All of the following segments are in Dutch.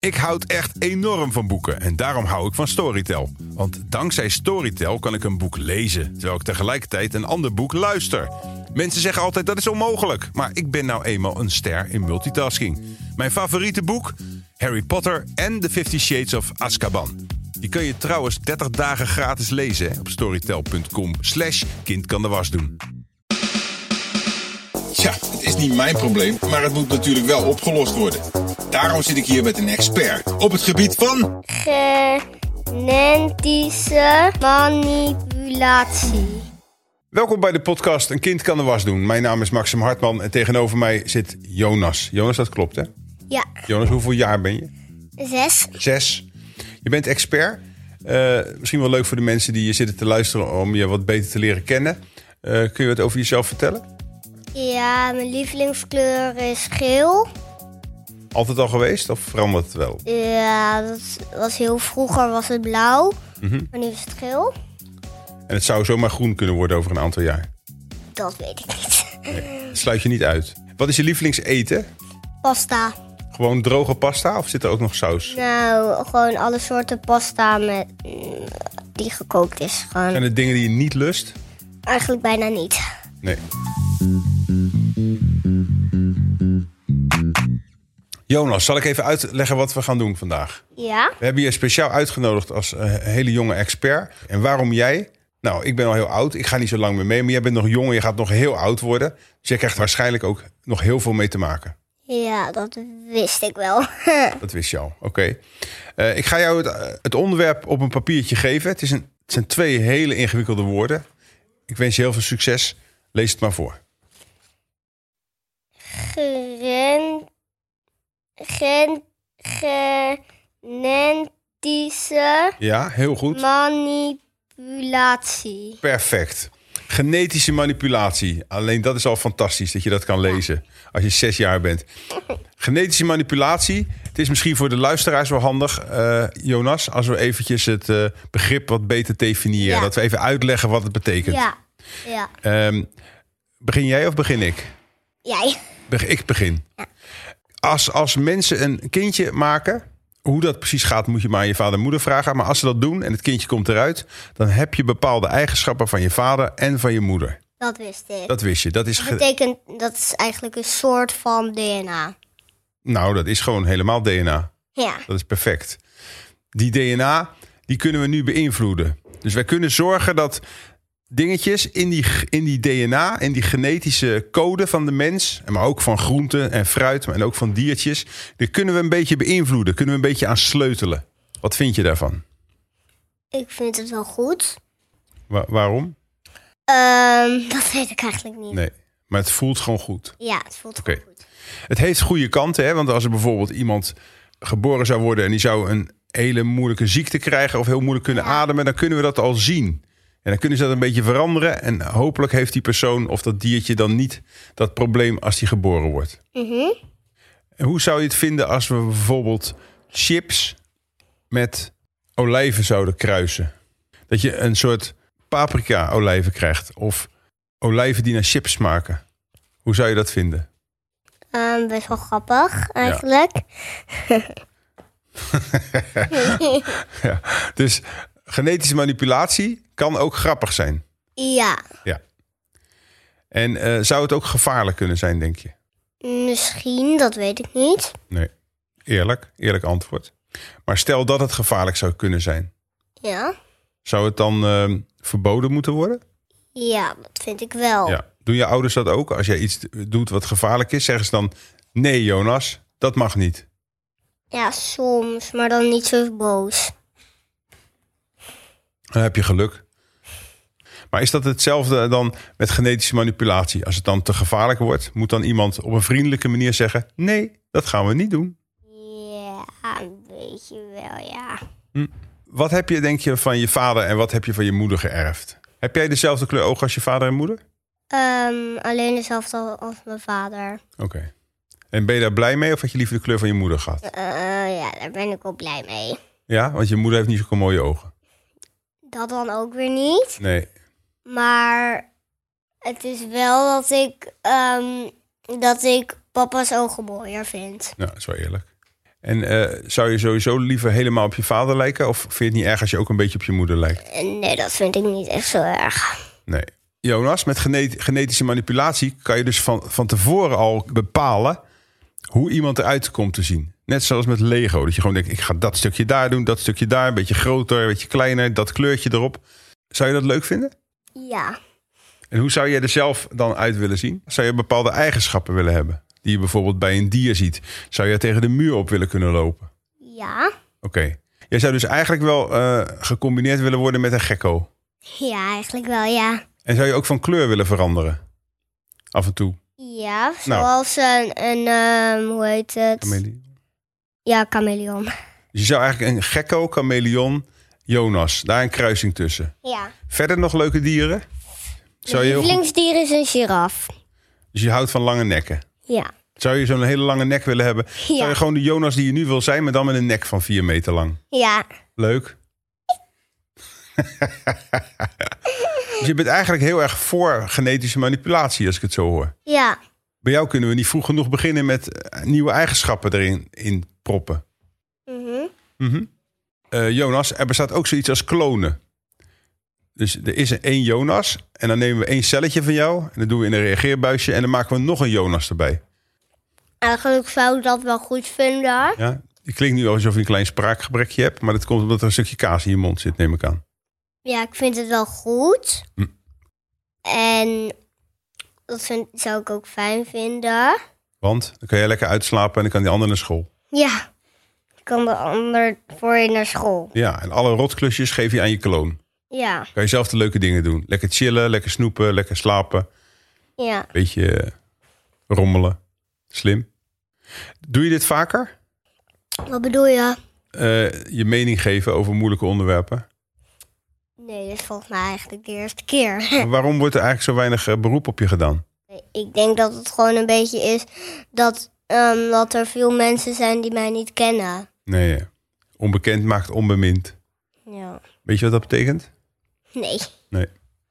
Ik houd echt enorm van boeken en daarom hou ik van Storytel. Want dankzij Storytel kan ik een boek lezen, terwijl ik tegelijkertijd een ander boek luister. Mensen zeggen altijd dat is onmogelijk, maar ik ben nou eenmaal een ster in multitasking. Mijn favoriete boek? Harry Potter en The Fifty Shades of Azkaban. Die kun je trouwens 30 dagen gratis lezen hè, op storytel.com slash kind kan de was doen. Ja, het is niet mijn probleem, maar het moet natuurlijk wel opgelost worden. Daarom zit ik hier met een expert op het gebied van. genetische manipulatie. Welkom bij de podcast Een kind kan de was doen. Mijn naam is Maxim Hartman en tegenover mij zit Jonas. Jonas, dat klopt hè? Ja, Jonas, hoeveel jaar ben je? zes. Zes. Je bent expert. Eh, misschien wel leuk voor de mensen die je zitten te luisteren om je wat beter te leren kennen. Eh, kun je wat over jezelf vertellen? Ja, mijn lievelingskleur is geel. Altijd al geweest of verandert het wel? Ja, dat was heel vroeger was het blauw, maar nu is het geel. En het zou zomaar groen kunnen worden over een aantal jaar. Dat weet ik niet. Dat sluit je niet uit. Wat is je lievelingseten? Pasta. Gewoon droge pasta of zit er ook nog saus? Nou, gewoon alle soorten pasta met, mm, die gekookt is. Gewoon Zijn het dingen die je niet lust? eigenlijk bijna niet. Nee. Jonas, zal ik even uitleggen wat we gaan doen vandaag? Ja? We hebben je speciaal uitgenodigd als eh, hele jonge expert. En waarom jij? Nou, ik ben al heel oud. Ik ga niet zo lang meer mee. Maar jij bent nog jong en je gaat nog heel oud worden. Dus jij krijgt waarschijnlijk ook nog heel veel mee te maken. Ja, dat wist ik wel. Dat wist je al. Oké. Eh, ik ga jou het, eh, het onderwerp op een papiertje geven. Het, is een, het zijn twee hele ingewikkelde woorden. Ik wens je heel veel succes. Lees het maar voor. Geren, gen, genetische Ja, heel goed. manipulatie. Perfect. Genetische manipulatie. Alleen dat is al fantastisch dat je dat kan lezen als je zes jaar bent. Genetische manipulatie. Het is misschien voor de luisteraars wel handig, eh, Jonas, als we eventjes het eh, begrip wat beter definiëren. Ja. Dat we even uitleggen wat het betekent. Ja, ja. Ehm, begin jij of begin ik? Jij. Beg- ik begin. Als, als mensen een kindje maken, hoe dat precies gaat, moet je maar aan je vader en moeder vragen. Maar als ze dat doen en het kindje komt eruit, dan heb je bepaalde eigenschappen van je vader en van je moeder. Dat wist ik. Dat wist je. Dat is ge- betekent, dat is eigenlijk een soort van DNA. nou, dat is gewoon helemaal DNA. Ja, Dat is perfect. Die DNA, die kunnen we nu beïnvloeden. Dus wij kunnen zorgen dat dingetjes in die, in die DNA, in die genetische code van de mens, maar ook van groenten en fruit, maar en ook van diertjes, die kunnen we een beetje beïnvloeden, kunnen we een beetje aan sleutelen. Wat vind je daarvan? ik vind het wel goed. Wa- waarom? Ehm, dat weet ik eigenlijk niet. Nee, maar het voelt gewoon goed. Ja, het voelt Oké. wel goed. Het heeft goede kanten, hè? want als er bijvoorbeeld iemand geboren zou worden en die zou een hele moeilijke ziekte krijgen of heel moeilijk kunnen ademen, dan kunnen we dat al zien. En dan kunnen ze dat een beetje veranderen en hopelijk heeft die persoon of dat diertje dan niet dat probleem als die geboren wordt. Mhm. En hoe zou je het vinden als we bijvoorbeeld chips met olijven zouden kruisen? Dat je een soort paprika-olijven krijgt of olijven die naar chips smaken. Hoe zou je dat vinden? Ehm, best wel grappig eigenlijk. Ja, dus genetische manipulatie kan ook grappig zijn. Ja, En eh, zou het ook gevaarlijk kunnen zijn, denk je? misschien, dat weet ik niet. Nee. Eerlijk, eerlijk antwoord. Maar stel dat het gevaarlijk zou kunnen zijn. Ja. Zou het dan eh, verboden moeten worden? Ja, dat vind ik wel. Ja. Doen je ouders dat ook? Als jij iets doet wat gevaarlijk is, zeggen ze dan... Nee, Jonas, dat mag niet. Ja, soms, maar dan niet zo boos. Dan heb je geluk. Maar is dat hetzelfde dan met genetische manipulatie? Als het dan te gevaarlijk wordt, moet dan iemand op een vriendelijke manier zeggen... Nee, dat gaan we niet doen. Ja, een beetje wel, ja. Wat heb je, denk je, van je vader en wat heb je van je moeder geërfd? Heb jij dezelfde kleur ogen als je vader en moeder? Ehm, alleen dezelfde als mijn vader. Oké. En ben je daar blij mee of had je liever de kleur van je moeder gehad? Eh, ja, daar ben ik wel blij mee. Ja, want je moeder heeft niet zulke mooie ogen. Dat dan ook weer niet. Nee. Maar het is wel dat ik, ehm, dat ik papa's ogen mooier vind. Nou, dat is wel eerlijk. En eh, zou je sowieso liever helemaal op je vader lijken? Of vind je het niet erg als je ook een beetje op je moeder lijkt? Eh, Nee, dat vind ik niet echt zo erg. Nee. Jonas, met gene- genetische manipulatie kan je dus van, van tevoren al bepalen hoe iemand eruit komt te zien. Net zoals met Lego. Dat je gewoon denkt, ik ga dat stukje daar doen, dat stukje daar. Een beetje groter, een beetje kleiner, dat kleurtje erop. Zou je dat leuk vinden? Ja. En hoe zou je er zelf dan uit willen zien? Zou je bepaalde eigenschappen willen hebben? Die je bijvoorbeeld bij een dier ziet. Zou je tegen de muur op willen kunnen lopen? Ja. Oké. Jij zou dus eigenlijk wel eh, gecombineerd willen worden met een gekko. Ja, eigenlijk wel, ja. En zou je ook van kleur willen veranderen? Af en toe, Ja, zoals een, een ehm, hoe heet het? chameleon. Ja, chameleon. Dus je zou eigenlijk een gekko, chameleon, Jonas. Daar een kruising tussen. Ja. Verder nog leuke dieren? Zou je heel goed- lievelingsdier is een giraf. dus je houdt van lange nekken. Ja. Zou je zo'n hele lange nek willen hebben? Zou je gewoon de Jonas die je nu wil zijn, maar dan met een nek van 4 meter lang? Ja. Leuk. dus je bent eigenlijk heel erg voor genetische manipulatie, als ik het zo hoor. Ja. Bij jou kunnen we niet vroeg genoeg beginnen met eh, nieuwe eigenschappen erin in proppen. Mhm. Mhm. Eh, Jonas, er bestaat ook zoiets als klonen. Dus er is een één Jonas en dan nemen we één celletje van jou... en dat doen we in een reageerbuisje en dan maken we nog een Jonas erbij. Eigenlijk zou ik dat wel goed vinden. Ja? Het klinkt nu alsof je een klein spraakgebrekje hebt... maar dat komt omdat er een stukje kaas in je mond zit, neem ik aan. Ja, ik vind het wel goed. Hm. En dat vind, zou ik ook fijn vinden. Want dan kan jij lekker uitslapen en dan kan die ander naar school. Ja. Ik kan de ander voor je naar school. Ja, en alle rotklusjes geef je aan je kloon. Ja. Kan je zelf de leuke dingen doen. Lekker chillen, lekker snoepen, lekker slapen. Ja. Beetje eh, rommelen. Slim. Doe je dit vaker? Wat bedoel je? Eh, je mening geven over moeilijke onderwerpen. Nee, dat is volgens mij eigenlijk de eerste keer. Maar waarom wordt er eigenlijk zo weinig eh, beroep op je gedaan? ik denk dat het gewoon een beetje is dat, ehm, dat er veel mensen zijn die mij niet kennen. Nee, eh, onbekend maakt onbemind. Ja. Weet je wat dat betekent? Nee. Nee.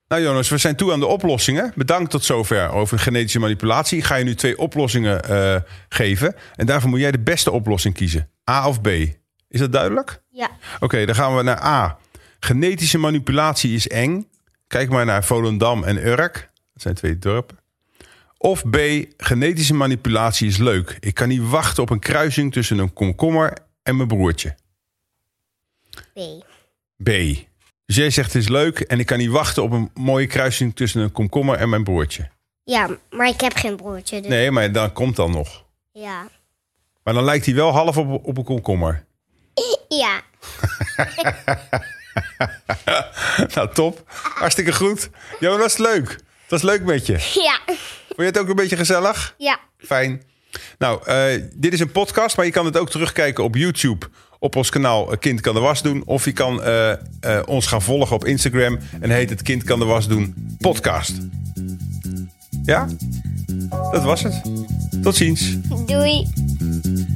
Nou Jonas, we zijn toe aan de oplossingen. Bedankt tot zover over genetische manipulatie. Ik ga je nu twee oplossingen eh, geven. En daarvoor moet jij de beste oplossing kiezen. A of B. Is dat duidelijk? Ja. Oké, dan gaan we naar A. Genetische manipulatie is eng. Kijk maar naar Volendam en Urk. Dat zijn twee dorpen. Of B. Genetische manipulatie is leuk. Ik kan niet wachten op een kruising tussen een komkommer en mijn broertje. B. B. Dus jij zegt het is leuk en ik kan niet wachten op een mooie kruising tussen een komkommer en mijn broertje. Ja, maar ik heb geen broertje. Dus... Nee, maar dan komt dan nog. Ja. Maar dan lijkt hij wel half op, op een komkommer. Ja. nou, top. Hartstikke goed. Jonas, leuk. Het was leuk met je. Ja. Vond je het ook een beetje gezellig? Ja. Fijn. Nou, eh, dit is een podcast, maar je kan het ook terugkijken op YouTube. Op ons kanaal eh, Kind kan de was doen. Of je kan eh, eh, ons gaan volgen op Instagram. En heet het Kind kan de was doen podcast. Ja, dat was het. Tot ziens. Doei.